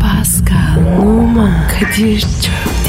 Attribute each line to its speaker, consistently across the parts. Speaker 1: Pascal, Oman, Kadir çok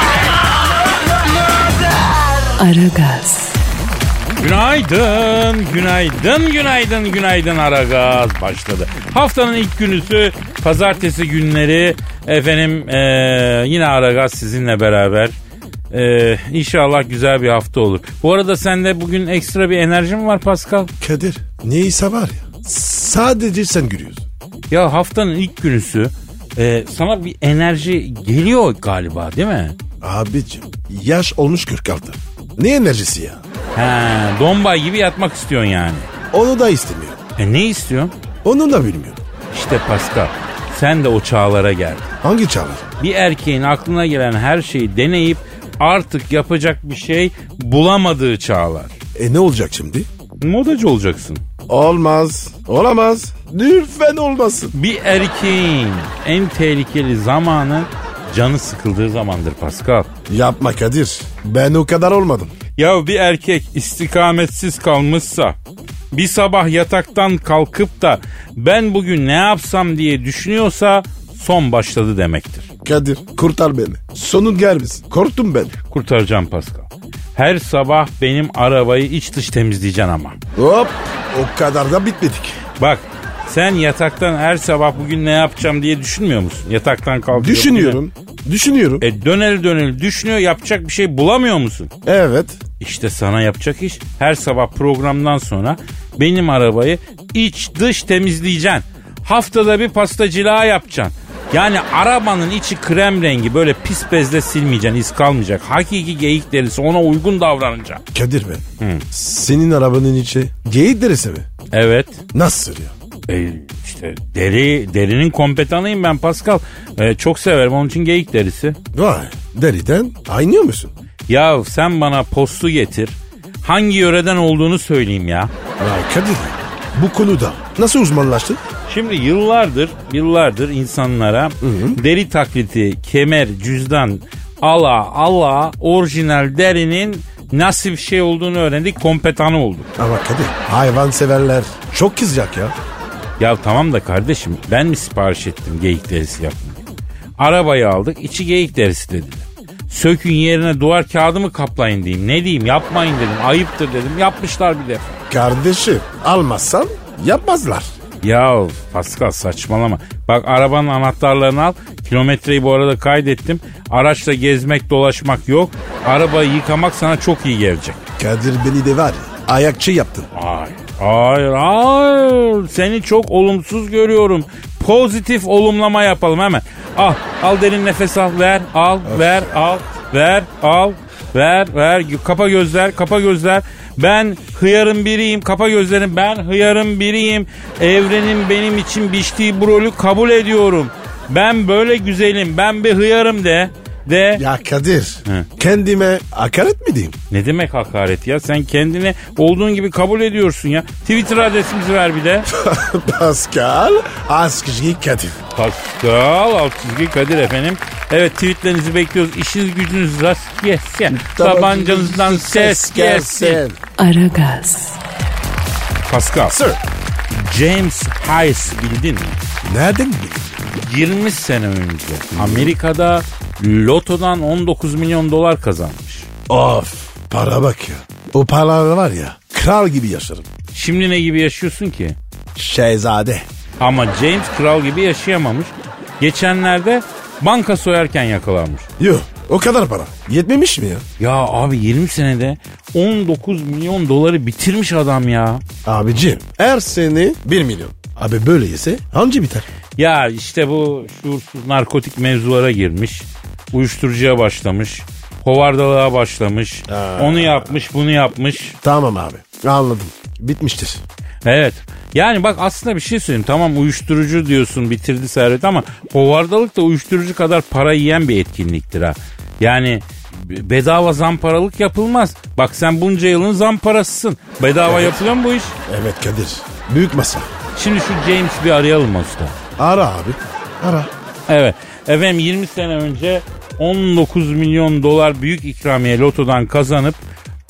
Speaker 1: Aragaz,
Speaker 2: Günaydın, günaydın, günaydın, günaydın Aragaz başladı. Haftanın ilk günüsü pazartesi günleri efendim eee, yine Aragaz sizinle beraber. Eee inşallah güzel bir hafta olur. Bu arada sende bugün ekstra bir enerji mi var Pascal?
Speaker 3: Kadir neyse var ya. Sadece sen gülüyorsun.
Speaker 2: Ya haftanın ilk günüsü eee, sana bir enerji geliyor galiba değil mi?
Speaker 3: Abicim yaş olmuş 46. Ne enerjisi ya?
Speaker 2: He, dombay gibi yatmak istiyorsun yani.
Speaker 3: Onu da istemiyorum.
Speaker 2: E ne istiyorsun?
Speaker 3: Onu da bilmiyorum.
Speaker 2: İşte Pascal sen de o çağlara gel.
Speaker 3: Hangi çağlar?
Speaker 2: Bir erkeğin aklına gelen her şeyi deneyip artık yapacak bir şey bulamadığı çağlar.
Speaker 3: E ne olacak şimdi?
Speaker 2: Modacı olacaksın.
Speaker 3: Olmaz. Olamaz. Lütfen olmasın.
Speaker 2: Bir erkeğin en tehlikeli zamanı canı sıkıldığı zamandır Pascal.
Speaker 3: Yapma Kadir. Ben o kadar olmadım.
Speaker 2: Ya bir erkek istikametsiz kalmışsa bir sabah yataktan kalkıp da ben bugün ne yapsam diye düşünüyorsa son başladı demektir.
Speaker 3: Kadir kurtar beni. Sonun gelmesin. Korktum ben.
Speaker 2: Kurtaracağım Pascal. Her sabah benim arabayı iç dış temizleyeceksin ama.
Speaker 3: Hop. O kadar da bitmedik.
Speaker 2: Bak sen yataktan her sabah bugün ne yapacağım diye düşünmüyor musun? Yataktan kalkıyor.
Speaker 3: Düşünüyorum. Düşünüyorum.
Speaker 2: E döneli döneli düşünüyor yapacak bir şey bulamıyor musun?
Speaker 3: Evet.
Speaker 2: İşte sana yapacak iş her sabah programdan sonra benim arabayı iç dış temizleyeceksin. Haftada bir pastacılığa yapacaksın. Yani arabanın içi krem rengi böyle pis bezle silmeyeceksin iz kalmayacak. Hakiki geyik derisi ona uygun davranacaksın.
Speaker 3: Kadir be. Senin arabanın içi geyik derisi mi?
Speaker 2: Evet.
Speaker 3: Nasıl ya?
Speaker 2: E, işte deri derinin kompetanıyım ben Pascal. E, çok severim onun için geyik derisi.
Speaker 3: Vay. Deriden aynıyor musun?
Speaker 2: Ya sen bana postu getir. Hangi yöreden olduğunu söyleyeyim ya.
Speaker 3: Vay Kadir. Bu konuda nasıl uzmanlaştın?
Speaker 2: Şimdi yıllardır yıllardır insanlara deri taklidi, kemer, cüzdan, ala ala orijinal derinin nasıl bir şey olduğunu öğrendik, kompetanı olduk.
Speaker 3: Ama Kadir hayvan severler çok kızacak ya.
Speaker 2: Ya tamam da kardeşim ben mi sipariş ettim geyik derisi yapmayı? Arabayı aldık içi geyik derisi dediler. Sökün yerine duvar kağıdı mı kaplayın diyeyim ne diyeyim yapmayın dedim ayıptır dedim yapmışlar bir defa.
Speaker 3: Kardeşim almazsan yapmazlar.
Speaker 2: Ya Pascal saçmalama. Bak arabanın anahtarlarını al. Kilometreyi bu arada kaydettim. Araçla gezmek dolaşmak yok. Arabayı yıkamak sana çok iyi gelecek.
Speaker 3: Kadir beni de var ya ayakçı yaptın.
Speaker 2: Hayır. Hayır hayır. Seni çok olumsuz görüyorum. Pozitif olumlama yapalım hemen. Al al derin nefes al ver al ver al ver al ver ver kapa gözler kapa gözler ben hıyarın biriyim kapa gözlerim ben hıyarın biriyim evrenin benim için biçtiği bu rolü kabul ediyorum ben böyle güzelim ben bir hıyarım de de
Speaker 3: Ya Kadir
Speaker 2: He.
Speaker 3: kendime hakaret mi diyeyim?
Speaker 2: ne demek hakaret ya sen kendini olduğun gibi kabul ediyorsun ya Twitter adresimizi ver bir de
Speaker 3: Pascal Askışki Kadir.
Speaker 2: Pascal Altçizgi Kadir efendim. Evet tweetlerinizi bekliyoruz. İşiniz gücünüz rast gelsin. Tabancanızdan ses gelsin.
Speaker 1: Aragaz,
Speaker 2: Pascal.
Speaker 3: Sir.
Speaker 2: James Hayes bildin mi?
Speaker 3: Nereden bildin?
Speaker 2: 20 sene önce Amerika'da lotodan 19 milyon dolar kazanmış.
Speaker 3: Of para bak ya. O paralar var ya kral gibi yaşarım.
Speaker 2: Şimdi ne gibi yaşıyorsun ki?
Speaker 3: Şehzade.
Speaker 2: Ama James kral gibi yaşayamamış. Geçenlerde banka soyarken yakalanmış.
Speaker 3: Yok o kadar para. Yetmemiş mi ya?
Speaker 2: Ya abi 20 senede 19 milyon doları bitirmiş adam ya.
Speaker 3: Abicim her sene 1 milyon. Abi böyle yese hangi biter?
Speaker 2: Ya işte bu şuursuz narkotik mevzulara girmiş. Uyuşturucuya başlamış. Hovardalığa başlamış. Onu yapmış, bunu yapmış.
Speaker 3: Tamam abi anladım. Bitmiştir.
Speaker 2: Evet. Yani bak aslında bir şey söyleyeyim. Tamam uyuşturucu diyorsun bitirdi servet ama hovardalık da uyuşturucu kadar para yiyen bir etkinliktir ha. Yani b- bedava zamparalık yapılmaz. Bak sen bunca yılın zamparasısın. Bedava yapılıyor mu bu iş?
Speaker 3: Evet Kadir. Büyük masa.
Speaker 2: Şimdi şu James bir arayalım usta.
Speaker 3: Ara abi. Ara.
Speaker 2: Evet. Efendim 20 sene önce 19 milyon dolar büyük ikramiye lotodan kazanıp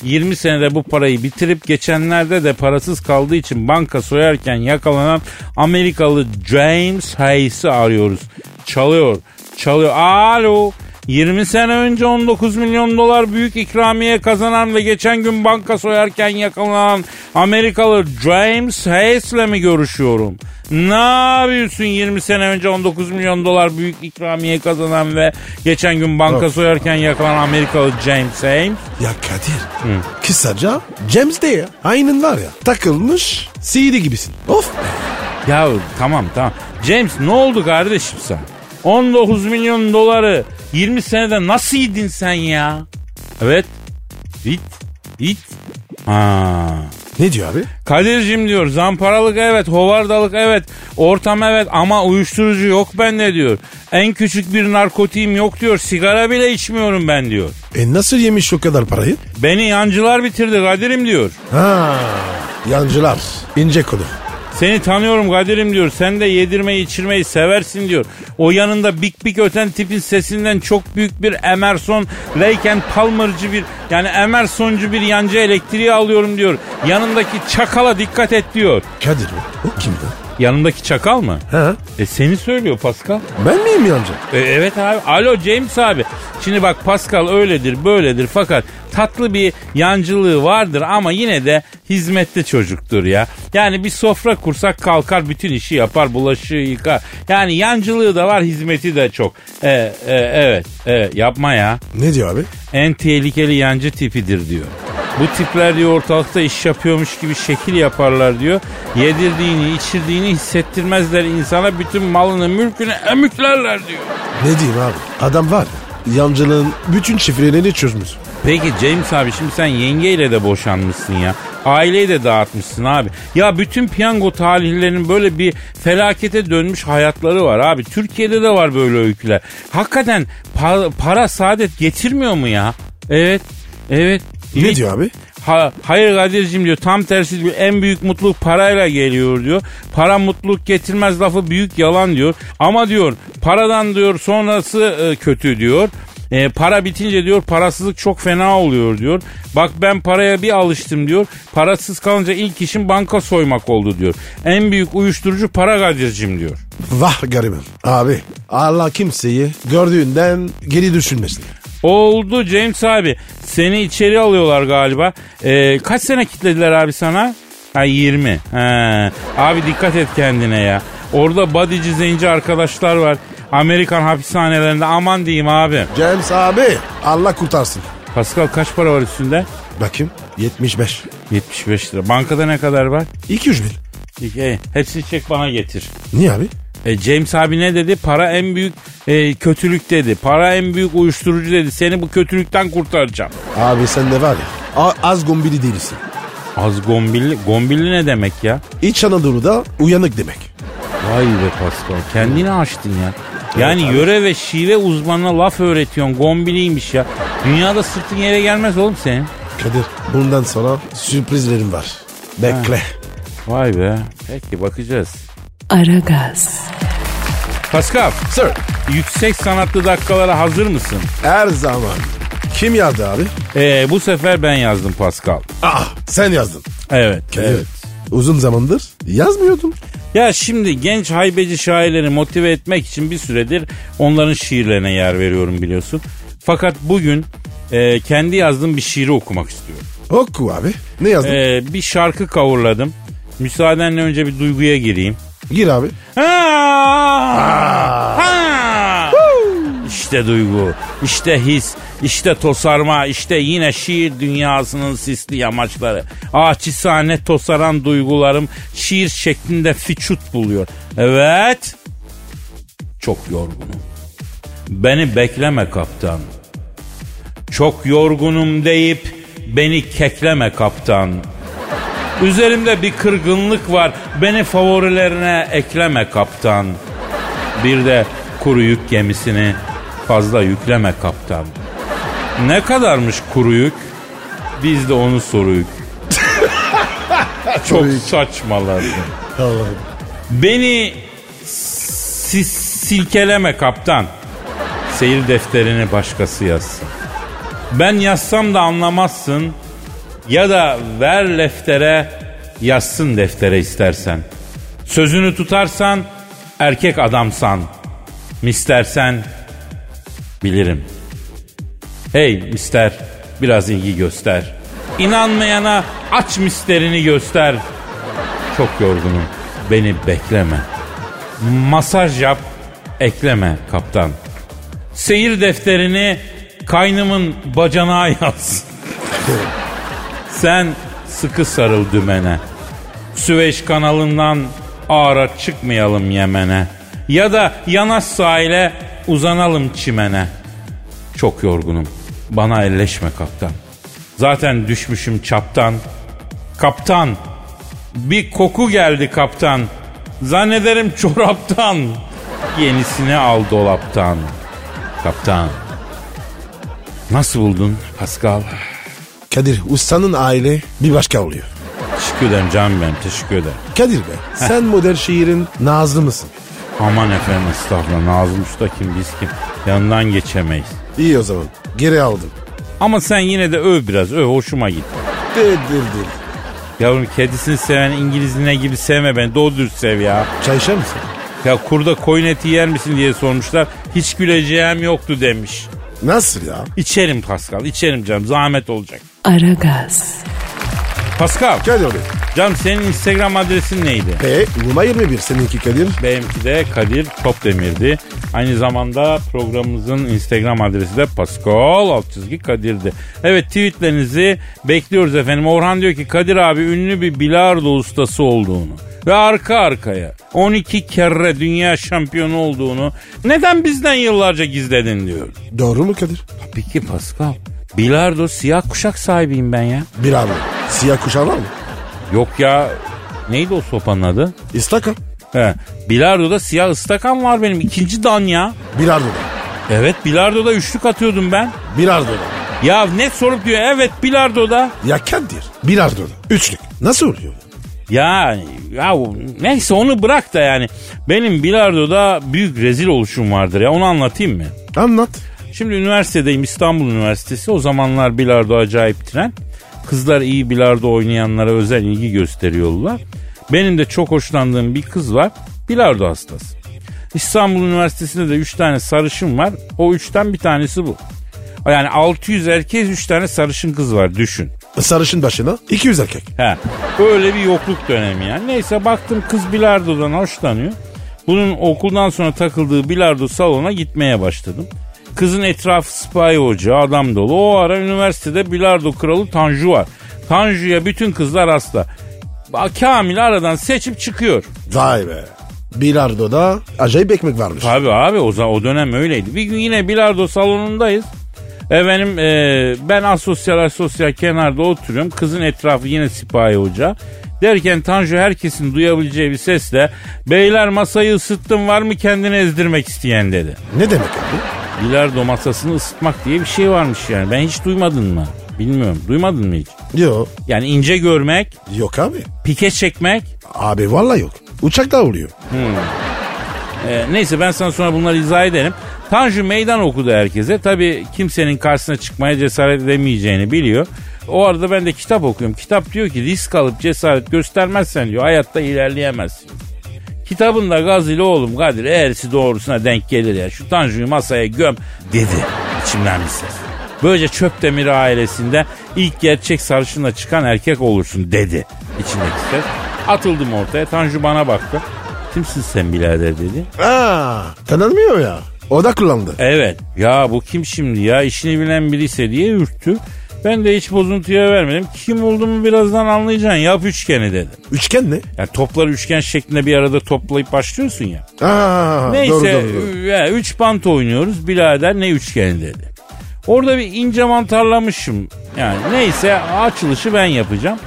Speaker 2: 20 senede bu parayı bitirip geçenlerde de parasız kaldığı için banka soyarken yakalanan Amerikalı James Hayes'i arıyoruz. Çalıyor, çalıyor. Alo. 20 sene önce 19 milyon dolar büyük ikramiye kazanan ve geçen gün banka soyarken yakalanan Amerikalı James Hayes'le mi görüşüyorum? Ne yapıyorsun 20 sene önce 19 milyon dolar büyük ikramiye kazanan ve geçen gün banka soyarken yakalanan Amerikalı James Hayes?
Speaker 3: Ya Kadir. Kısaca James de ya. Aynen var ya. Takılmış CD gibisin. Of.
Speaker 2: Ya tamam tamam. James ne oldu kardeşim sen? 19 milyon doları 20 senede nasıl yedin sen ya? Evet. It. It. Ha.
Speaker 3: Ne diyor abi?
Speaker 2: Kadir'cim diyor zamparalık evet, hovardalık evet, ortam evet ama uyuşturucu yok bende diyor. En küçük bir narkotiğim yok diyor, sigara bile içmiyorum ben diyor.
Speaker 3: E nasıl yemiş o kadar parayı?
Speaker 2: Beni yancılar bitirdi Kadir'im diyor.
Speaker 3: Ha. Yancılar. ince kolu.
Speaker 2: Seni tanıyorum Kadir'im diyor. Sen de yedirmeyi içirmeyi seversin diyor. O yanında bik bik öten tipin sesinden çok büyük bir Emerson Leyken Palmer'cı bir yani Emerson'cu bir yancı elektriği alıyorum diyor. Yanındaki çakala dikkat et diyor.
Speaker 3: Kadir bu. O kim bu?
Speaker 2: Yanındaki çakal mı?
Speaker 3: Ha?
Speaker 2: E seni söylüyor Pascal.
Speaker 3: Ben miyim yancı?
Speaker 2: E, evet abi. Alo James abi. Şimdi bak Pascal öyledir böyledir fakat tatlı bir yancılığı vardır ama yine de hizmetli çocuktur ya. Yani bir sofra kursak kalkar bütün işi yapar bulaşığı yıkar. Yani yancılığı da var hizmeti de çok. E, e, evet, evet yapma ya.
Speaker 3: Ne diyor abi?
Speaker 2: En tehlikeli yancı tipidir diyor. Bu tipler diyor ortalıkta iş yapıyormuş gibi şekil yaparlar diyor. Yedirdiğini içirdiğini hissettirmezler insana bütün malını mülkünü emüklerler diyor.
Speaker 3: Ne diyeyim abi? Adam var ya. Yancılığın bütün şifrelerini çözmüş.
Speaker 2: Peki James abi şimdi sen yengeyle de boşanmışsın ya. Aileyi de dağıtmışsın abi. Ya bütün piyango talihlerinin böyle bir felakete dönmüş hayatları var abi. Türkiye'de de var böyle öyküler. Hakikaten pa- para saadet getirmiyor mu ya? Evet. Evet.
Speaker 3: Ne diyor abi?
Speaker 2: Ha, hayır Kadir'cim diyor tam tersi diyor en büyük mutluluk parayla geliyor diyor. Para mutluluk getirmez lafı büyük yalan diyor. Ama diyor paradan diyor sonrası e, kötü diyor. E, para bitince diyor parasızlık çok fena oluyor diyor. Bak ben paraya bir alıştım diyor. Parasız kalınca ilk işim banka soymak oldu diyor. En büyük uyuşturucu para Kadir'cim diyor.
Speaker 3: Vah garibim. Abi Allah kimseyi gördüğünden geri düşünmesin.
Speaker 2: Oldu James abi. Seni içeri alıyorlar galiba. Ee, kaç sene kitlediler abi sana? Ha 20. He. Abi dikkat et kendine ya. Orada badici zenci arkadaşlar var. Amerikan hapishanelerinde aman diyeyim abi.
Speaker 3: James abi Allah kurtarsın.
Speaker 2: Pascal kaç para var üstünde?
Speaker 3: Bakayım 75.
Speaker 2: 75 lira. Bankada ne kadar var?
Speaker 3: 200 bin.
Speaker 2: E, hepsini çek bana getir.
Speaker 3: Niye abi?
Speaker 2: E, James abi ne dedi? Para en büyük e, kötülük dedi. Para en büyük uyuşturucu dedi. Seni bu kötülükten kurtaracağım.
Speaker 3: Abi sen de var ya a- az gombili değilsin.
Speaker 2: Az gombilli. Gombilli ne demek ya?
Speaker 3: İç Anadolu'da uyanık demek.
Speaker 2: Vay be Pascal kendini açtın ya. Yani yöre ve şive uzmanına laf öğretiyorsun gombiliymiş ya. Dünyada sırtın yere gelmez oğlum senin.
Speaker 3: Kadir bundan sonra sürprizlerim var. Bekle.
Speaker 2: Vay be. Peki bakacağız.
Speaker 1: Aragaz,
Speaker 2: Pascal
Speaker 3: Sir
Speaker 2: yüksek sanatlı dakikalara hazır mısın?
Speaker 3: her zaman. Kim yazdı abi?
Speaker 2: Ee, bu sefer ben yazdım Pascal.
Speaker 3: Aa sen yazdın.
Speaker 2: Evet.
Speaker 3: Kadir,
Speaker 2: evet.
Speaker 3: Uzun zamandır yazmıyordum.
Speaker 2: Ya şimdi genç haybeci şairleri motive etmek için bir süredir onların şiirlerine yer veriyorum biliyorsun. Fakat bugün e, kendi yazdığım bir şiiri okumak istiyorum.
Speaker 3: Oku abi. Ne yazdın?
Speaker 2: Ee, bir şarkı kavurladım. Müsaadenle önce bir duyguya gireyim.
Speaker 3: Gir abi.
Speaker 2: Ha! Ha! İşte duygu, işte his, işte tosarma, işte yine şiir dünyasının sisli yamaçları. Ahçisane tosaran duygularım şiir şeklinde fiçut buluyor. Evet, çok yorgunum. Beni bekleme kaptan. Çok yorgunum deyip beni kekleme kaptan. Üzerimde bir kırgınlık var. Beni favorilerine ekleme kaptan. Bir de kuru yük gemisini fazla yükleme kaptan. Ne kadarmış kuru yük? Biz de onu soruyuk. Çok saçmaladı.
Speaker 3: Allah'ım.
Speaker 2: Beni si- silkeleme kaptan. Seyir defterini başkası yazsın. Ben yazsam da anlamazsın. Ya da ver leftere yazsın deftere istersen. Sözünü tutarsan erkek adamsan. Mistersen bilirim. Hey mister biraz ilgi göster. İnanmayana aç misterini göster. Çok yorgunum. Beni bekleme. Masaj yap. Ekleme kaptan. Seyir defterini kaynımın bacana yaz. Sen sıkı sarıl dümene. Süveyş kanalından ağra çıkmayalım Yemen'e. Ya da yanaş sahile uzanalım çimene. Çok yorgunum. Bana elleşme kaptan. Zaten düşmüşüm çaptan. Kaptan. Bir koku geldi kaptan. Zannederim çoraptan. Yenisini al dolaptan. Kaptan. Nasıl buldun Pascal?
Speaker 3: Kadir ustanın aile bir başka oluyor.
Speaker 2: Teşekkür ederim canım benim teşekkür ederim.
Speaker 3: Kadir be sen modern şiirin nazlı mısın?
Speaker 2: Aman efendim estağfurullah Nazım Usta kim biz kim yanından geçemeyiz.
Speaker 3: İyi o zaman geri aldım.
Speaker 2: Ama sen yine de öv biraz öv hoşuma gitti.
Speaker 3: Dır dır dır.
Speaker 2: Yavrum kedisini seven İngiliz ne gibi sevme beni doğru dürüst sev ya.
Speaker 3: Çay içer misin?
Speaker 2: Ya kurda koyun eti yer misin diye sormuşlar. Hiç güleceğim yoktu demiş.
Speaker 3: Nasıl ya?
Speaker 2: İçerim Pascal içerim canım zahmet olacak.
Speaker 1: Aragaz,
Speaker 2: Pascal
Speaker 3: Kadir abi.
Speaker 2: canım senin Instagram adresin neydi?
Speaker 3: E numara 21 seninki Kadir.
Speaker 2: Benimki de Kadir Topdemir'di. Aynı zamanda programımızın Instagram adresi de Pascal alt çizgi Kadir'di. Evet tweetlerinizi bekliyoruz efendim. Orhan diyor ki Kadir abi ünlü bir bilardo ustası olduğunu ve arka arkaya 12 kere dünya şampiyonu olduğunu neden bizden yıllarca gizledin diyor.
Speaker 3: Doğru mu Kadir?
Speaker 2: Tabii ki Pascal. Bilardo siyah kuşak sahibiyim ben ya.
Speaker 3: Bir abi. Siyah kuşağı var mı?
Speaker 2: Yok ya neydi o sopanın adı?
Speaker 3: İstaka.
Speaker 2: He, bilardo'da siyah ıstakan var benim ikinci dan ya.
Speaker 3: Bir ardoda.
Speaker 2: Evet bilardoda üçlük atıyordum ben.
Speaker 3: Bir ardoda.
Speaker 2: Ya ne sorup diyor evet bilardoda.
Speaker 3: Ya Kadir. Bir ardoda. Üçlük. Nasıl oluyor?
Speaker 2: Ya, ya neyse onu bırak da yani. Benim bilardoda büyük rezil oluşum vardır ya onu anlatayım mı?
Speaker 3: Anlat.
Speaker 2: Şimdi üniversitedeyim İstanbul Üniversitesi. O zamanlar bilardo acayip tren. Kızlar iyi bilardo oynayanlara özel ilgi gösteriyorlar. Benim de çok hoşlandığım bir kız var. Bilardo hastası. İstanbul Üniversitesi'nde de 3 tane sarışın var. O 3'ten bir tanesi bu. Yani 600 erkeğiz 3 tane sarışın kız var düşün.
Speaker 3: Sarışın başına 200 erkek.
Speaker 2: He. Öyle bir yokluk dönemi yani. Neyse baktım kız bilardodan hoşlanıyor. Bunun okuldan sonra takıldığı bilardo salonuna gitmeye başladım. Kızın etrafı spy hoca, adam dolu. O ara üniversitede bilardo kralı Tanju var. Tanju'ya bütün kızlar hasta. Ba- Kamil aradan seçip çıkıyor.
Speaker 3: Vay be. Bir ardoda acayip ekmek varmış.
Speaker 2: Tabii abi o, za- o dönem öyleydi. Bir gün yine bilardo salonundayız. Efendim e, ben asosyal asosyal kenarda oturuyorum. Kızın etrafı yine sipahi hoca. Derken Tanju herkesin duyabileceği bir sesle beyler masayı ısıttım var mı kendini ezdirmek isteyen dedi.
Speaker 3: Ne demek abi?
Speaker 2: Bilardo masasını ısıtmak diye bir şey varmış yani. Ben hiç duymadın mı? Bilmiyorum. Duymadın mı hiç?
Speaker 3: Yok.
Speaker 2: Yani ince görmek,
Speaker 3: Yok abi.
Speaker 2: pike çekmek.
Speaker 3: Abi vallahi yok. Uçakla oluyor.
Speaker 2: E, neyse ben sana sonra bunları izah ederim. Tanju meydan okudu herkese. Tabii kimsenin karşısına çıkmaya cesaret edemeyeceğini biliyor. O arada ben de kitap okuyorum. Kitap diyor ki risk alıp cesaret göstermezsen diyor hayatta ilerleyemezsin. Kitabında gazili oğlum Kadir eğerisi doğrusuna denk gelir ya. Şu Tanju'yu masaya göm dedi içimden bir ses. Böylece Çöpdemir ailesinde ilk gerçek sarışınla çıkan erkek olursun dedi içimdeki ses. Atıldım ortaya Tanju bana baktı. Kimsin sen birader dedi.
Speaker 3: Aa, tanınmıyor ya. O da kullandı.
Speaker 2: Evet. Ya bu kim şimdi ya işini bilen biriyse diye ürktü. Ben de hiç bozuntuya vermedim. Kim olduğumu birazdan anlayacaksın. Yap üçgeni dedim.
Speaker 3: Üçgen ne?
Speaker 2: Yani topları üçgen şeklinde bir arada toplayıp başlıyorsun ya.
Speaker 3: Aa,
Speaker 2: Neyse
Speaker 3: doğru, doğru, doğru.
Speaker 2: ü- ya, üç bant oynuyoruz. Birader ne üçgeni dedi. Orada bir ince mantarlamışım. Yani neyse açılışı ben yapacağım.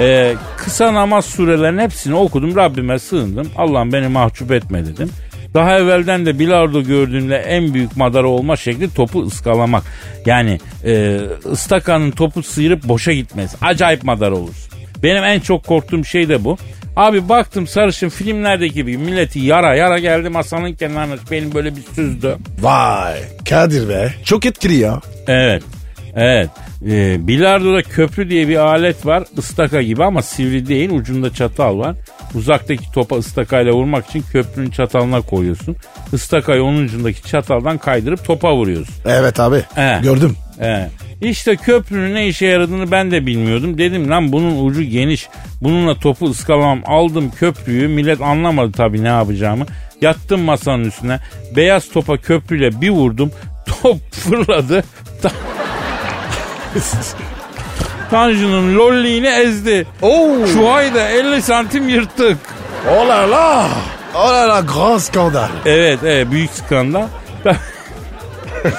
Speaker 2: Ee, kısa namaz surelerinin hepsini okudum. Rabbime sığındım. Allah'ım beni mahcup etme dedim. Daha evvelden de bilardo gördüğümde en büyük madara olma şekli topu ıskalamak. Yani e, ıstakanın topu sıyırıp boşa gitmesi. Acayip madara olursun. Benim en çok korktuğum şey de bu. Abi baktım sarışın filmlerdeki gibi milleti yara yara geldi masanın kenarına benim böyle bir süzdü.
Speaker 3: Vay Kadir be. Çok etkili ya.
Speaker 2: Evet. Evet. Ee, bilardo'da köprü diye bir alet var. Istaka gibi ama sivri değil. Ucunda çatal var. Uzaktaki topa ıstakayla vurmak için köprünün çatalına koyuyorsun. Istakayı onun ucundaki çataldan kaydırıp topa vuruyorsun.
Speaker 3: Evet abi.
Speaker 2: He.
Speaker 3: Gördüm.
Speaker 2: He. İşte köprünün ne işe yaradığını ben de bilmiyordum. Dedim lan bunun ucu geniş. Bununla topu ıskalamam. Aldım köprüyü. Millet anlamadı tabii ne yapacağımı. Yattım masanın üstüne. Beyaz topa köprüyle bir vurdum. Top fırladı. Ta- Tanju'nun lolliğini ezdi.
Speaker 3: Oo.
Speaker 2: Şu ayda 50 santim yırttık.
Speaker 3: Oh la la. Oh la la grand skandal.
Speaker 2: Evet, evet büyük skandal.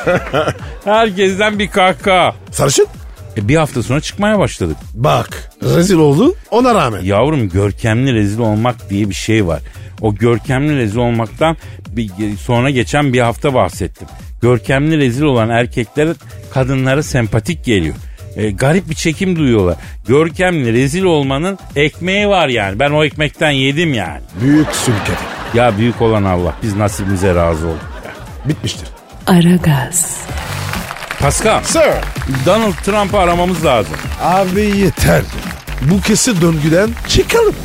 Speaker 2: Herkesten bir kahkaha.
Speaker 3: Sarışın.
Speaker 2: E, bir hafta sonra çıkmaya başladık.
Speaker 3: Bak rezil oldu ona rağmen.
Speaker 2: Yavrum görkemli rezil olmak diye bir şey var. O görkemli rezil olmaktan bir, sonra geçen bir hafta bahsettim. Görkemli rezil olan erkeklere kadınlara sempatik geliyor. E, garip bir çekim duyuyorlar. Görkemli rezil olmanın ekmeği var yani. Ben o ekmekten yedim yani.
Speaker 3: Büyük sülkedi.
Speaker 2: Ya büyük olan Allah biz nasibimize razı olduk.
Speaker 3: Bitmiştir.
Speaker 1: Aragaz,
Speaker 2: Pascal,
Speaker 3: Sir.
Speaker 2: Donald Trump'ı aramamız lazım.
Speaker 3: Abi yeter. Bu kesi döngüden çıkalım.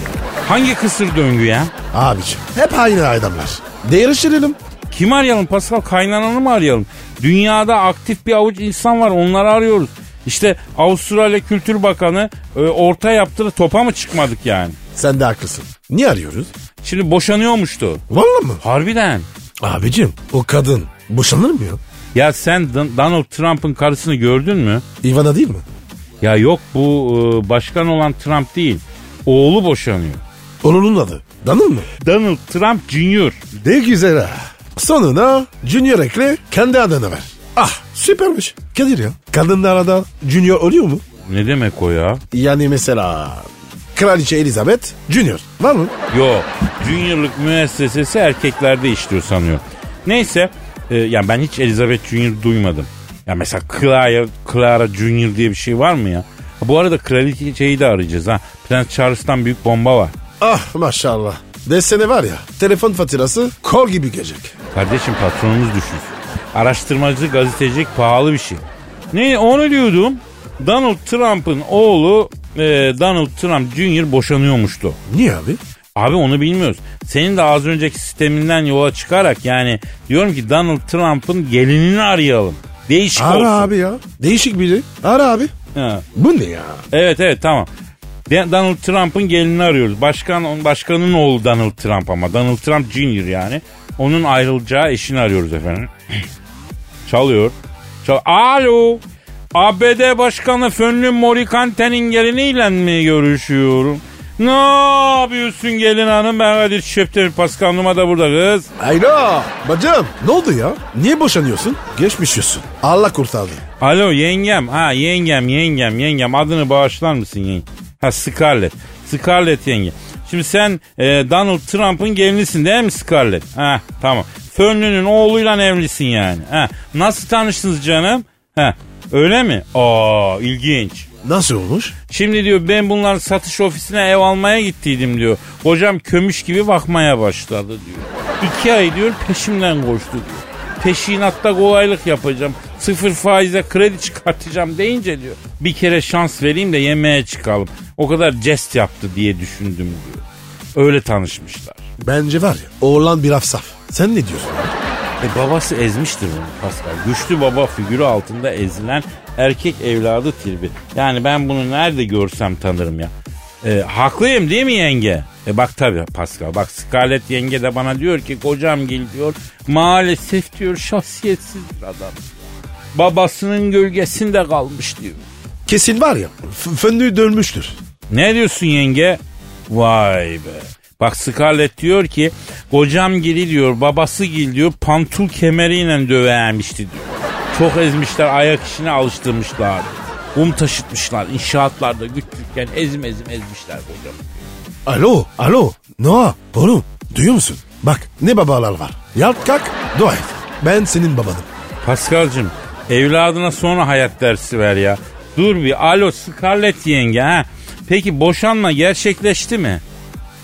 Speaker 2: Hangi kısır döngü ya?
Speaker 3: Abiciğim hep aynı adamlar. Değiştirelim.
Speaker 2: Kim arayalım Pascal? Kaynananı mı arayalım? Dünyada aktif bir avuç insan var onları arıyoruz. İşte Avustralya Kültür Bakanı e, orta yaptı da topa mı çıkmadık yani?
Speaker 3: Sen de haklısın. Niye arıyoruz?
Speaker 2: Şimdi boşanıyormuştu.
Speaker 3: Vallahi mı?
Speaker 2: Harbiden.
Speaker 3: Abicim o kadın boşanır mı ya?
Speaker 2: Ya sen Don- Donald Trump'ın karısını gördün mü?
Speaker 3: Ivana değil mi?
Speaker 2: Ya yok bu e, başkan olan Trump değil. Oğlu boşanıyor.
Speaker 3: Onun adı. Danıl mı?
Speaker 2: Donald Trump Junior.
Speaker 3: Ne güzel ha. Sonuna Junior ekle kendi adını ver. Ah süpermiş. Kadir ya. Kadınlarda da Junior oluyor mu?
Speaker 2: Ne demek o ya?
Speaker 3: Yani mesela Kraliçe Elizabeth Junior var mı?
Speaker 2: Yok. Junior'lık müessesesi erkeklerde işliyor sanıyorum. Neyse. e, yani ben hiç Elizabeth Junior duymadım. Ya mesela Clara, Clara Junior diye bir şey var mı ya? Ha, Bu arada kraliçeyi de arayacağız ha. Prens Charles'tan büyük bomba var.
Speaker 3: Ah maşallah. Desene var ya telefon faturası kol gibi gelecek.
Speaker 2: Kardeşim patronumuz düşünsün. Araştırmacı gazetecilik pahalı bir şey. Ne onu diyordum. Donald Trump'ın oğlu e, Donald Trump Junior boşanıyormuştu.
Speaker 3: Niye abi?
Speaker 2: Abi onu bilmiyoruz. Senin de az önceki sisteminden yola çıkarak yani diyorum ki Donald Trump'ın gelinini arayalım. Değişik
Speaker 3: Ara
Speaker 2: olsun.
Speaker 3: abi ya. Değişik biri. Ara abi.
Speaker 2: Ha.
Speaker 3: Bu ne ya?
Speaker 2: Evet evet tamam. De- Donald Trump'ın gelinini arıyoruz. Başkan başkanın oğlu Donald Trump ama Donald Trump Junior yani. Onun ayrılacağı eşini arıyoruz efendim. Çalıyor. Çal Alo. ABD Başkanı Fönlü Morikante'nin geliniyle mi görüşüyorum? Ne yapıyorsun gelin hanım? Ben Kadir Çöptemir Pascal Numa da burada kız.
Speaker 3: Alo. Bacım ne oldu ya? Niye boşanıyorsun? Geçmiş olsun. Allah kurtardı.
Speaker 2: Alo yengem. Ha yengem yengem yengem. Adını bağışlar mısın yenge? Ha Scarlett. Scarlett yenge. Şimdi sen e, Donald Trump'ın gelinisin değil mi Scarlett? Ha tamam. Fönlü'nün oğluyla evlisin yani. Ha nasıl tanıştınız canım? Ha öyle mi? Aa ilginç.
Speaker 3: Nasıl olmuş?
Speaker 2: Şimdi diyor ben bunların satış ofisine ev almaya gittiydim diyor. Hocam kömüş gibi bakmaya başladı diyor. İki ay diyor peşimden koştu diyor. Peşinatta kolaylık yapacağım. Sıfır faize kredi çıkartacağım deyince diyor. Bir kere şans vereyim de yemeğe çıkalım. O kadar jest yaptı diye düşündüm diyor. Öyle tanışmışlar.
Speaker 3: Bence var ya oğlan bir afsaf. Sen ne diyorsun?
Speaker 2: E babası ezmiştir bunu Pascal. Güçlü baba figürü altında ezilen erkek evladı tribi. Yani ben bunu nerede görsem tanırım ya. E, haklıyım değil mi yenge? E bak tabii Pascal. Bak Scarlett yenge de bana diyor ki kocam gel diyor. Maalesef diyor şahsiyetsiz bir adam. Babasının gölgesinde kalmış diyor.
Speaker 3: Kesin var ya f- fındüğü dönmüştür.
Speaker 2: Ne diyorsun yenge? Vay be. Bak Scarlett diyor ki kocam gili diyor babası gil diyor pantul kemeriyle dövermişti diyor. Çok ezmişler ayak işine alıştırmışlar. Kum taşıtmışlar inşaatlarda güç güçken ezim ezim ezmişler kocam.
Speaker 3: Alo, alo. Noah, oğlum duyuyor musun? Bak ne babalar var. Yat kalk, dua et. Ben senin babanım.
Speaker 2: Paskal'cığım evladına sonra hayat dersi ver ya. Dur bir alo Scarlett yenge ha. Peki boşanma gerçekleşti mi?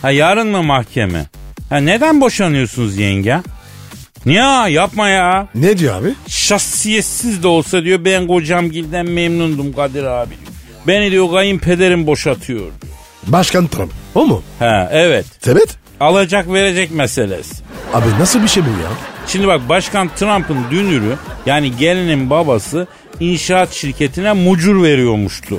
Speaker 2: Ha yarın mı mahkeme? Ha neden boşanıyorsunuz yenge? Ya yapma ya.
Speaker 3: Ne diyor abi?
Speaker 2: Şahsiyetsiz de olsa diyor ben kocamgilden memnundum Kadir abi. diyor. Beni diyor kayınpederim boşatıyor. diyor.
Speaker 3: Başkan Trump. O mu?
Speaker 2: Ha evet.
Speaker 3: Sebet?
Speaker 2: Alacak verecek meselesi.
Speaker 3: Abi nasıl bir şey bu ya?
Speaker 2: Şimdi bak Başkan Trump'ın dünürü yani gelinin babası inşaat şirketine mucur veriyormuştu.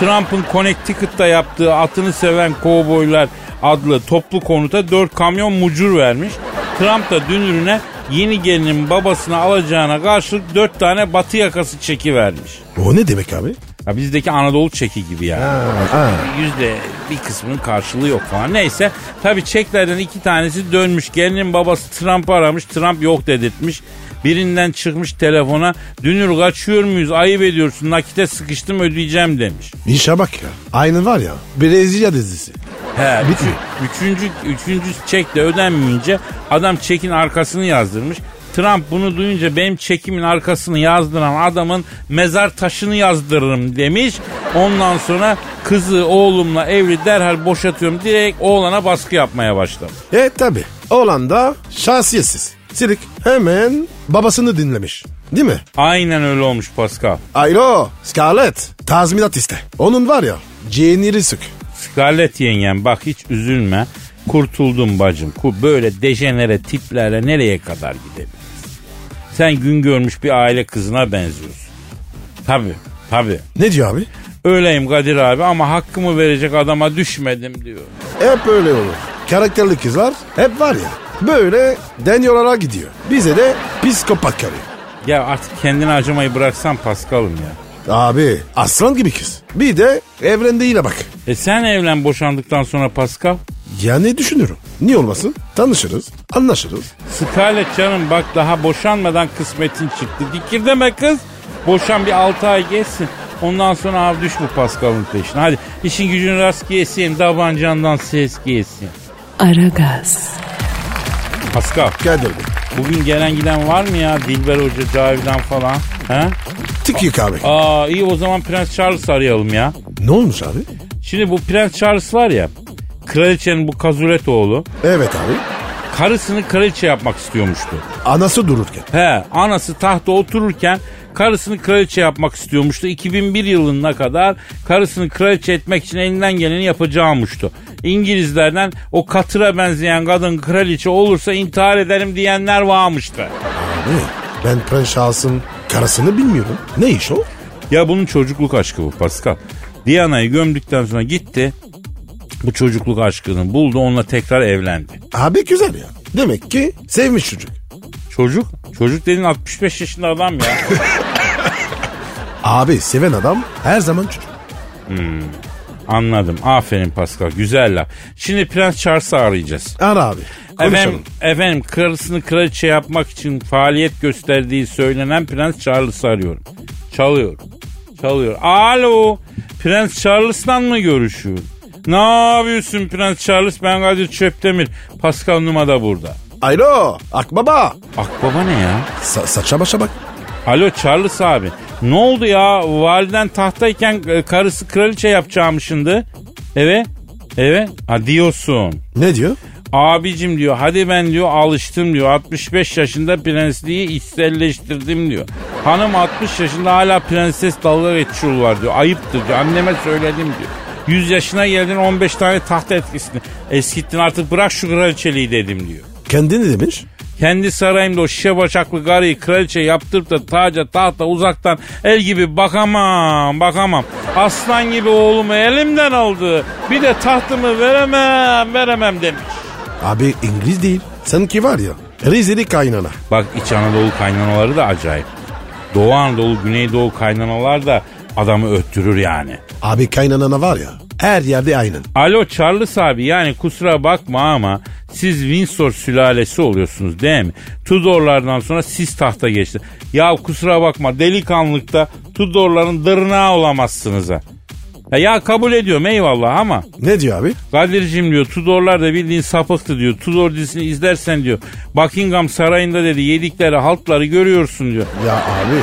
Speaker 2: Trump'ın Connecticut'ta yaptığı Atını Seven Kovboylar adlı toplu konuta 4 kamyon mucur vermiş. Trump da dünürüne yeni gelinin babasını alacağına karşılık 4 tane batı yakası çeki vermiş.
Speaker 3: O ne demek abi?
Speaker 2: Ya bizdeki Anadolu çeki gibi yani. Yüzde bir kısmının karşılığı yok falan. Neyse tabii çeklerden iki tanesi dönmüş. Gelinin babası Trump'ı aramış. Trump yok dedirtmiş. Birinden çıkmış telefona. Dünür kaçıyor muyuz? Ayıp ediyorsun. Nakite sıkıştım ödeyeceğim demiş.
Speaker 3: İnşa bak ya. Aynı var ya. Brezilya dizisi.
Speaker 2: He,
Speaker 3: Bitmiyor.
Speaker 2: Üçüncü, üçüncü çek de ödenmeyince adam çekin arkasını yazdırmış. Trump bunu duyunca benim çekimin arkasını yazdıran adamın mezar taşını yazdırırım demiş. Ondan sonra kızı oğlumla evli derhal boşatıyorum direkt oğlana baskı yapmaya başladı.
Speaker 3: E tabi. Oğlan da şahsiyetsiz. Silik hemen babasını dinlemiş. Değil mi?
Speaker 2: Aynen öyle olmuş Pascal.
Speaker 3: Ayro, Scarlett. Tazminat iste. Onun var ya. Ciğenleri sük.
Speaker 2: Scarlett yengem bak hiç üzülme. Kurtuldum bacım. Ku- Böyle dejenere tiplerle nereye kadar gidebiliriz? Sen gün görmüş bir aile kızına benziyorsun. Tabi tabi.
Speaker 3: Ne diyor abi?
Speaker 2: Öyleyim Kadir abi ama hakkımı verecek adama düşmedim diyor.
Speaker 3: Hep böyle olur. Karakterli kızlar hep var ya. Böyle deniyorlara gidiyor. Bize de psikopat karıyor.
Speaker 2: Ya artık kendini acımayı bıraksan Paskal'ım ya.
Speaker 3: Abi aslan gibi kız. Bir de evrende yine bak.
Speaker 2: E sen evlen boşandıktan sonra Paskal.
Speaker 3: Ya ne düşünürüm? Niye olmasın? Tanışırız, anlaşırız.
Speaker 2: Scarlett canım bak daha boşanmadan kısmetin çıktı. Dikir deme kız. Boşan bir 6 ay geçsin. Ondan sonra abi düş bu Paskal'ın peşine. Hadi işin gücün rast gelsin. Davancandan ses gelsin.
Speaker 1: Aragaz,
Speaker 2: Paskal
Speaker 3: Kadir
Speaker 2: bugün gelen giden var mı ya? Dilber Hoca, Cavidan falan. He?
Speaker 3: Tık yık abi.
Speaker 2: Aa iyi o zaman Prens Charles arayalım ya.
Speaker 3: Ne olmuş abi?
Speaker 2: Şimdi bu Prens Charles var ya. Kraliçenin bu kazulet oğlu.
Speaker 3: Evet abi.
Speaker 2: Karısını kraliçe yapmak istiyormuştu.
Speaker 3: Anası dururken.
Speaker 2: He anası tahta otururken karısını kraliçe yapmak istiyormuştu. 2001 yılına kadar karısını kraliçe etmek için elinden geleni yapacağımıştı. İngilizlerden o katıra benzeyen kadın kraliçe olursa intihar ederim diyenler varmıştı.
Speaker 3: Abi ben Prens Charles'ın karısını bilmiyorum. Ne iş o?
Speaker 2: Ya bunun çocukluk aşkı bu Pascal. Diana'yı gömdükten sonra gitti. Bu çocukluk aşkını buldu onunla tekrar evlendi.
Speaker 3: Abi güzel ya. Demek ki sevmiş çocuk.
Speaker 2: Çocuk? Çocuk dediğin 65 yaşında adam ya.
Speaker 3: Abi seven adam her zaman çocuk.
Speaker 2: Anladım. Aferin Pascal. Güzel laf. Şimdi Prens Charles'ı arayacağız.
Speaker 3: Ara abi. Konuşalım.
Speaker 2: Efendim, efendim karısını kraliçe yapmak için faaliyet gösterdiği söylenen Prens Charles'ı arıyorum. Çalıyor. Çalıyor. Alo. Prens Charles'la mı görüşüyor? Ne yapıyorsun Prens Charles? Ben Kadir Çöptemir. Pascal Numa da burada.
Speaker 3: Alo Akbaba.
Speaker 2: Akbaba ne ya?
Speaker 3: Sa- saça başa bak.
Speaker 2: Alo Charles abi. Ne oldu ya? Validen tahtayken e, karısı kraliçe yapacağımışındı. Evet. Evet. Ha diyorsun.
Speaker 3: Ne diyor?
Speaker 2: Abicim diyor hadi ben diyor alıştım diyor 65 yaşında prensliği içselleştirdim diyor. Hanım 60 yaşında hala prenses dalga geçiyorlar diyor. Ayıptır diyor anneme söyledim diyor. 100 yaşına geldin 15 tane taht etkisini eskittin artık bırak şu kraliçeliği dedim diyor.
Speaker 3: Kendini demiş.
Speaker 2: Kendi sarayımda o şişe başaklı garıyı kraliçe yaptırıp da taca tahta uzaktan el gibi bakamam bakamam. Aslan gibi oğlumu elimden aldı. Bir de tahtımı veremem veremem demiş.
Speaker 3: Abi İngiliz değil. Sanki var ya Rizeli kaynana.
Speaker 2: Bak İç Anadolu kaynanaları da acayip. Doğu Anadolu, Güneydoğu kaynanalar da adamı öttürür yani.
Speaker 3: Abi kaynanana var ya Her yerde aynın.
Speaker 2: Alo Charles abi yani kusura bakma ama siz Windsor sülalesi oluyorsunuz değil mi? Tudorlardan sonra siz tahta geçti. Ya kusura bakma delikanlıkta Tudorların dırnağı olamazsınız ha. Ya, ya kabul ediyorum eyvallah ama
Speaker 3: Ne diyor abi?
Speaker 2: Kadir'cim diyor Tudorlar da bildiğin sapıktı diyor. Tudor dizisini izlersen diyor Buckingham Sarayı'nda dedi yedikleri haltları görüyorsun diyor.
Speaker 3: Ya abi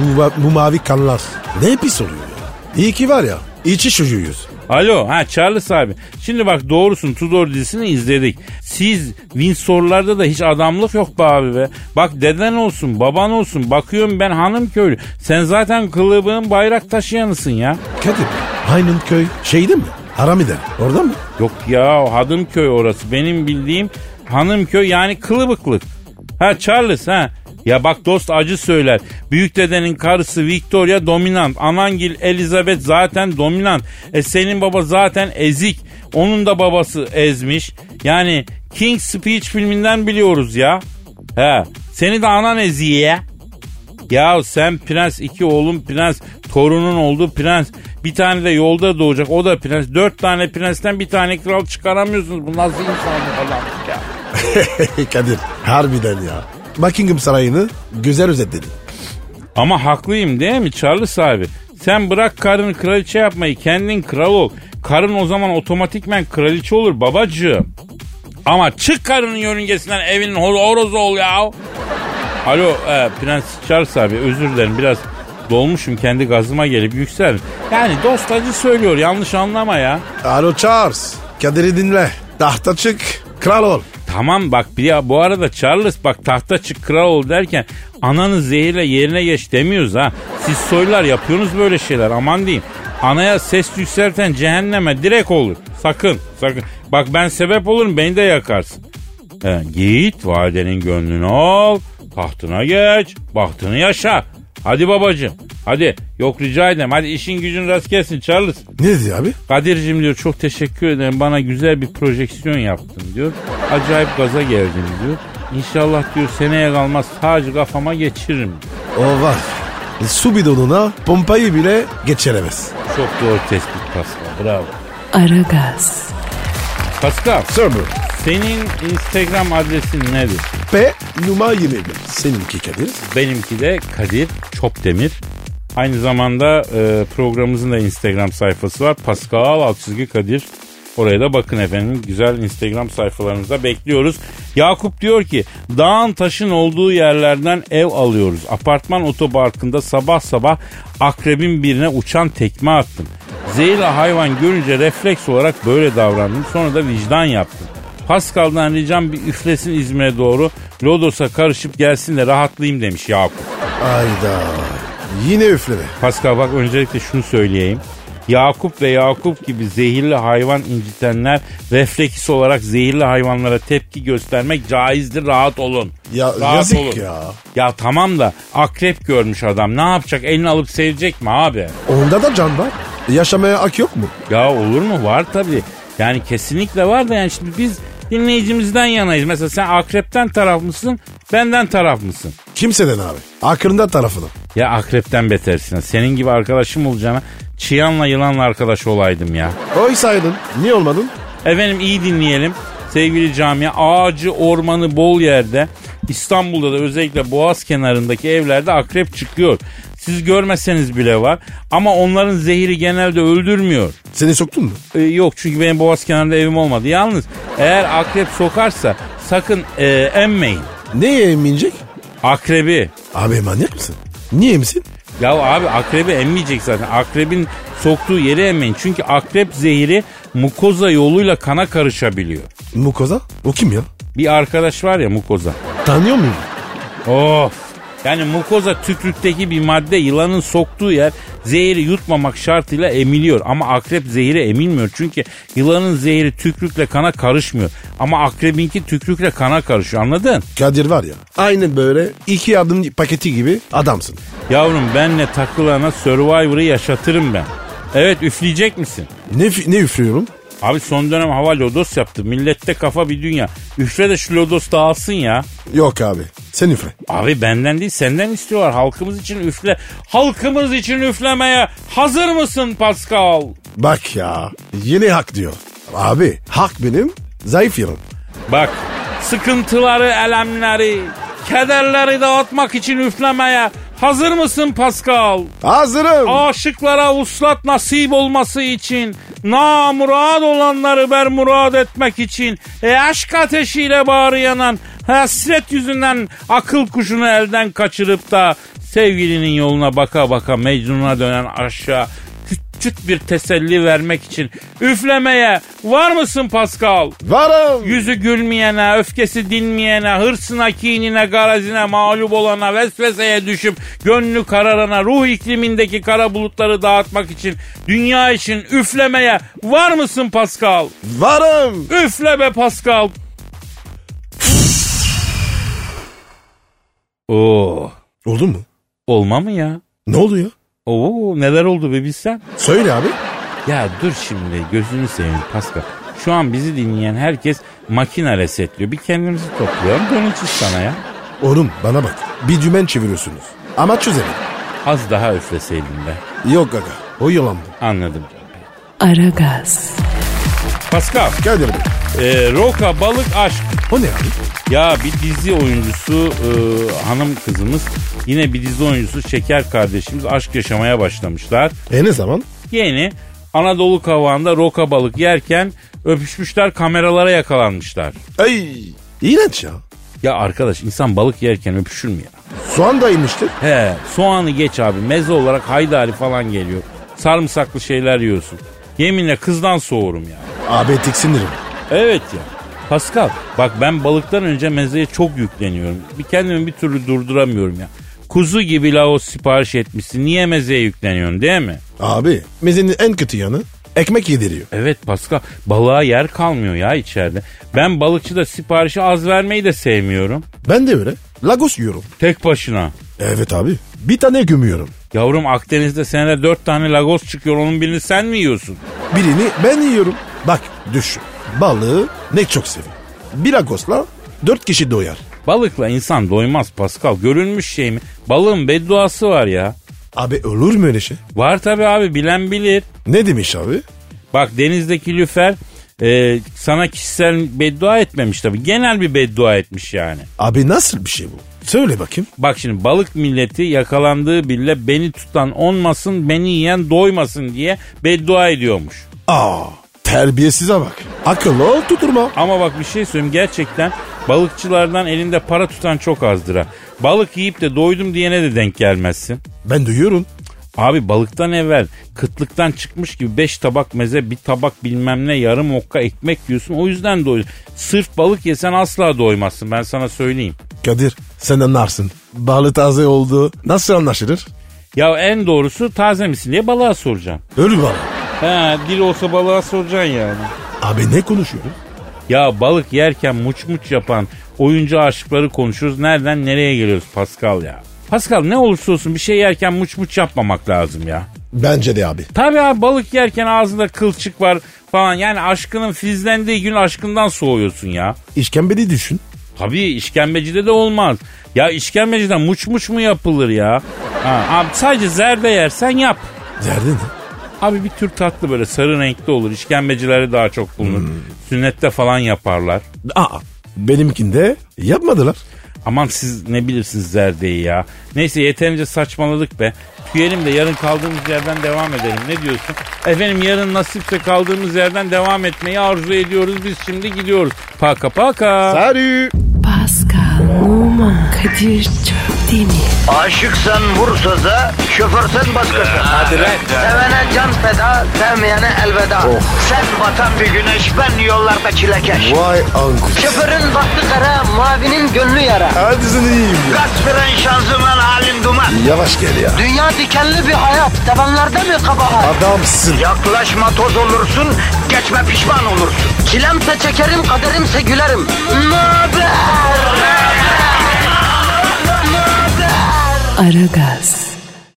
Speaker 3: bu, ma- bu mavi kanlar ne pis oluyor ya. İyi ki var ya içi çocuğuyuz.
Speaker 2: Alo ha Charles abi. Şimdi bak doğrusun Tudor dizisini izledik. Siz Windsor'larda da hiç adamlık yok be abi be. Bak deden olsun baban olsun bakıyorum ben hanım köylü. Sen zaten kılıbığın bayrak taşıyanısın ya.
Speaker 3: Kadir aynın köy şeydi mi? Haramide orada mı?
Speaker 2: Yok ya Hadımköy orası benim bildiğim Hanımköy yani kılıbıklık. Ha Charles ha. Ya bak dost acı söyler. Büyük dedenin karısı Victoria dominant. Anangil Elizabeth zaten dominant. E senin baba zaten ezik. Onun da babası ezmiş. Yani King Speech filminden biliyoruz ya. He. Seni de anan eziyor ya. Ya sen prens, iki oğlum prens, torunun oldu prens. Bir tane de yolda doğacak o da prens. Dört tane prensten bir tane kral çıkaramıyorsunuz. Bu nasıl insanlık adam ya?
Speaker 3: Kadir harbiden ya. Buckingham Sarayı'nı güzel özetledin.
Speaker 2: Ama haklıyım değil mi Charles abi? Sen bırak karını kraliçe yapmayı kendin kral ol. Karın o zaman otomatikmen kraliçe olur babacığım. Ama çık karının yörüngesinden evinin hor- horozu ol ya. Alo e, Prens Charles abi özür dilerim biraz dolmuşum kendi gazıma gelip yükseldim. Yani dost acı söylüyor yanlış anlama ya.
Speaker 3: Alo Charles Kadir'i dinle. Tahta çık kral ol.
Speaker 2: Tamam bak bir ya bu arada Charles bak tahta çık kral ol derken ananı zehirle yerine geç demiyoruz ha. Siz soylular yapıyorsunuz böyle şeyler aman diyeyim. Anaya ses yükselten cehenneme direkt olur. Sakın sakın. Bak ben sebep olurum beni de yakarsın. He, git validenin gönlünü al. Tahtına geç. Bahtını yaşa. Hadi babacığım. Hadi yok rica ederim. Hadi işin gücün rast gelsin Charles.
Speaker 3: Ne diyor abi?
Speaker 2: Kadir'cim diyor çok teşekkür ederim bana güzel bir projeksiyon yaptın diyor. Acayip gaza geldim diyor. İnşallah diyor seneye kalmaz sadece kafama geçiririm.
Speaker 3: O var. Su bidonuna pompayı bile geçiremez.
Speaker 2: Çok doğru tespit Pascal bravo.
Speaker 1: Aragaz,
Speaker 2: Pascal
Speaker 3: Sir bu.
Speaker 2: senin Instagram adresin nedir?
Speaker 3: P numara 21. Seninki Kadir.
Speaker 2: Benimki de Kadir Çopdemir. Aynı zamanda e, programımızın da Instagram sayfası var. Pascal alt çizgi Kadir. Oraya da bakın efendim. Güzel Instagram sayfalarınızda bekliyoruz. Yakup diyor ki dağın taşın olduğu yerlerden ev alıyoruz. Apartman otoparkında sabah sabah akrebin birine uçan tekme attım. Zehirli hayvan görünce refleks olarak böyle davrandım. Sonra da vicdan yaptım. Pascal'dan ricam bir üflesin İzmir'e doğru. Lodos'a karışıp gelsin de rahatlayayım demiş Yakup.
Speaker 3: Ayda. Yine üfleme.
Speaker 2: Pascal bak öncelikle şunu söyleyeyim. Yakup ve Yakup gibi zehirli hayvan incitenler refleks olarak zehirli hayvanlara tepki göstermek caizdir rahat olun.
Speaker 3: Ya
Speaker 2: rahat
Speaker 3: yazık ya.
Speaker 2: Ya tamam da akrep görmüş adam ne yapacak elini alıp sevecek mi abi?
Speaker 3: Onda da can var. Yaşamaya hak yok mu?
Speaker 2: Ya olur mu? Var tabii. Yani kesinlikle var da yani şimdi biz dinleyicimizden yanayız. Mesela sen akrepten taraf mısın? Benden taraf mısın?
Speaker 3: Kimseden abi. Akrında tarafını.
Speaker 2: Ya akrepten betersin. Senin gibi arkadaşım olacağına çıyanla yılanla arkadaş olaydım ya.
Speaker 3: Oysaydın. Niye olmadın?
Speaker 2: Efendim iyi dinleyelim. Sevgili camia ağacı ormanı bol yerde. İstanbul'da da özellikle boğaz kenarındaki evlerde akrep çıkıyor. Siz görmeseniz bile var. Ama onların zehiri genelde öldürmüyor.
Speaker 3: Seni soktun mu?
Speaker 2: E, yok çünkü benim boğaz kenarında evim olmadı. Yalnız eğer akrep sokarsa sakın e, emmeyin.
Speaker 3: Neye eminecek?
Speaker 2: Akrebi.
Speaker 3: Abi manyak mısın? Niye misin?
Speaker 2: Ya abi akrebi emmeyecek zaten. Akrebin soktuğu yeri emmeyin. Çünkü akrep zehri mukoza yoluyla kana karışabiliyor.
Speaker 3: Mukoza? O kim ya?
Speaker 2: Bir arkadaş var ya mukoza.
Speaker 3: Tanıyor muyum?
Speaker 2: Of. Yani mukoza tükrükteki bir madde yılanın soktuğu yer zehri yutmamak şartıyla emiliyor. Ama akrep zehri emilmiyor. Çünkü yılanın zehri tükrükle kana karışmıyor. Ama akrebinki tükrükle kana karışıyor anladın?
Speaker 3: Kadir var ya. Aynen böyle iki adım paketi gibi adamsın.
Speaker 2: Yavrum benle takılana Survivor'ı yaşatırım ben. Evet üfleyecek misin?
Speaker 3: Ne, fi- ne üflüyorum?
Speaker 2: Abi son dönem hava lodos yaptı. Millette kafa bir dünya. Üfle de şu lodos dağılsın ya.
Speaker 3: Yok abi. Sen üfle.
Speaker 2: Abi benden değil senden istiyorlar. Halkımız için üfle. Halkımız için üflemeye hazır mısın Pascal?
Speaker 3: Bak ya yeni hak diyor. Abi hak benim zayıf yanım.
Speaker 2: Bak sıkıntıları, elemleri, kederleri dağıtmak için üflemeye hazır mısın Pascal?
Speaker 3: Hazırım.
Speaker 2: Aşıklara uslat nasip olması için, namurad olanları bermurad etmek için, e, aşk ateşiyle bağrı yanan hasret yüzünden akıl kuşunu elden kaçırıp da sevgilinin yoluna baka baka Mecnun'a dönen aşağı küçük bir teselli vermek için üflemeye var mısın Pascal?
Speaker 3: Varım.
Speaker 2: Yüzü gülmeyene, öfkesi dinmeyene, hırsına, kinine, garazine, mağlup olana, vesveseye düşüp gönlü kararana, ruh iklimindeki kara bulutları dağıtmak için, dünya için üflemeye var mısın Pascal?
Speaker 3: Varım.
Speaker 2: Üfle be Pascal. Oo,
Speaker 3: Oldu mu?
Speaker 2: olma mı ya?
Speaker 3: Ne oldu ya?
Speaker 2: Oo, neler oldu be bilsen.
Speaker 3: Söyle abi.
Speaker 2: Ya dur şimdi gözünü seveyim Pascal. Şu an bizi dinleyen herkes makine resetliyor. Bir kendimizi topluyorum döneceğiz sana ya.
Speaker 3: Oğlum bana bak. Bir dümen çeviriyorsunuz. Ama çözelim.
Speaker 2: Az daha üfleseydin be.
Speaker 3: Yok gaga. O yalan bu.
Speaker 2: Anladım.
Speaker 1: Aragaz,
Speaker 2: Pascal,
Speaker 3: Kadir Bey.
Speaker 2: e, Roka Balık Aşk.
Speaker 3: O ne abi?
Speaker 2: Ya bir dizi oyuncusu e, hanım kızımız yine bir dizi oyuncusu Şeker kardeşimiz aşk yaşamaya başlamışlar.
Speaker 3: E ne zaman?
Speaker 2: Yeni Anadolu kavağında roka balık yerken öpüşmüşler kameralara yakalanmışlar.
Speaker 3: Ay. İğrenç ya.
Speaker 2: Ya arkadaş insan balık yerken öpüşür mü ya?
Speaker 3: Soğan da inmiştir.
Speaker 2: He soğanı geç abi meze olarak haydari falan geliyor. Sarımsaklı şeyler yiyorsun. Yeminle kızdan soğurum ya.
Speaker 3: Abi tiksinirim.
Speaker 2: Evet ya. Pascal bak ben balıktan önce mezeye çok yükleniyorum. Bir kendimi bir türlü durduramıyorum ya. Kuzu gibi laos sipariş etmişsin. Niye mezeye yükleniyorsun değil mi?
Speaker 3: Abi mezenin en kötü yanı ekmek yediriyor.
Speaker 2: Evet Pascal balığa yer kalmıyor ya içeride. Ben balıkçı da siparişi az vermeyi de sevmiyorum.
Speaker 3: Ben de öyle. Lagos yiyorum.
Speaker 2: Tek başına.
Speaker 3: Evet abi. Bir tane gömüyorum.
Speaker 2: Yavrum Akdeniz'de senede dört tane lagos çıkıyor onun birini sen mi yiyorsun?
Speaker 3: Birini ben yiyorum. Bak düşün. Balığı ne çok seviyor. Bir lagosla dört kişi doyar.
Speaker 2: Balıkla insan doymaz Pascal görülmüş şey mi? Balığın bedduası var ya.
Speaker 3: Abi olur mu öyle şey?
Speaker 2: Var tabi abi bilen bilir.
Speaker 3: Ne demiş abi?
Speaker 2: Bak denizdeki lüfer e, sana kişisel beddua etmemiş tabii. Genel bir beddua etmiş yani.
Speaker 3: Abi nasıl bir şey bu? Söyle bakayım.
Speaker 2: Bak şimdi balık milleti yakalandığı bile beni tutan olmasın beni yiyen doymasın diye beddua ediyormuş.
Speaker 3: Aa terbiyesize bak. Akıllı ol tuturma.
Speaker 2: Ama bak bir şey söyleyeyim gerçekten balıkçılardan elinde para tutan çok azdır ha. Balık yiyip de doydum diyene de denk gelmezsin.
Speaker 3: Ben duyuyorum.
Speaker 2: Abi balıktan evvel kıtlıktan çıkmış gibi 5 tabak meze bir tabak bilmem ne yarım okka ekmek yiyorsun o yüzden doyuyorsun. Sırf balık yesen asla doymazsın ben sana söyleyeyim.
Speaker 3: Kadir sen anlarsın. Balı taze oldu. Nasıl anlaşılır?
Speaker 2: Ya en doğrusu taze misin diye balığa soracağım.
Speaker 3: Ölü balı.
Speaker 2: He dil olsa balığa soracaksın yani.
Speaker 3: Abi ne konuşuyorsun?
Speaker 2: Ya balık yerken muç muç yapan oyuncu aşıkları konuşuyoruz. Nereden nereye geliyoruz Pascal ya? Pascal ne olursa olsun bir şey yerken muç muç yapmamak lazım ya.
Speaker 3: Bence de abi.
Speaker 2: Tabii abi balık yerken ağzında kılçık var falan. Yani aşkının filizlendiği gün aşkından soğuyorsun ya.
Speaker 3: İşkembeli düşün.
Speaker 2: Tabii işkembecide de olmaz. Ya işkembeciden muç muç mu yapılır ya? Ha, abi sadece zerde yersen yap.
Speaker 3: Derdin ne?
Speaker 2: Abi bir tür tatlı böyle sarı renkte olur. İşkembecileri daha çok bulunur. Sünnette falan yaparlar.
Speaker 3: Aa benimkinde yapmadılar.
Speaker 2: Aman siz ne bilirsiniz zerdeyi ya. Neyse yeterince saçmaladık be. Tüyelim de yarın kaldığımız yerden devam edelim. Ne diyorsun? Efendim yarın nasipse kaldığımız yerden devam etmeyi arzu ediyoruz. Biz şimdi gidiyoruz. Paka paka.
Speaker 3: Sarı.
Speaker 1: Pascal, Oman, Kadir çok değil mi?
Speaker 4: Aşıksan vursa da, şoförsen başkasın. Hadi Sevene can feda, sevmeyene elveda. Sen batan bir güneş, ben yollarda çilekeş.
Speaker 3: Vay anku.
Speaker 4: Şoförün baktı kara, mavinin gönlü yara.
Speaker 3: Hadi sen iyiyim ya.
Speaker 4: Kasperen şanzıman halin duman.
Speaker 3: Yavaş gel ya.
Speaker 4: Dünya dikenli bir hayat, sevenlerde mi kabahar?
Speaker 3: Adamsın.
Speaker 4: Yaklaşma toz olursun, geçme pişman olursun. Çilemse çekerim, kaderimse gülerim. Möber!
Speaker 1: Aragaz.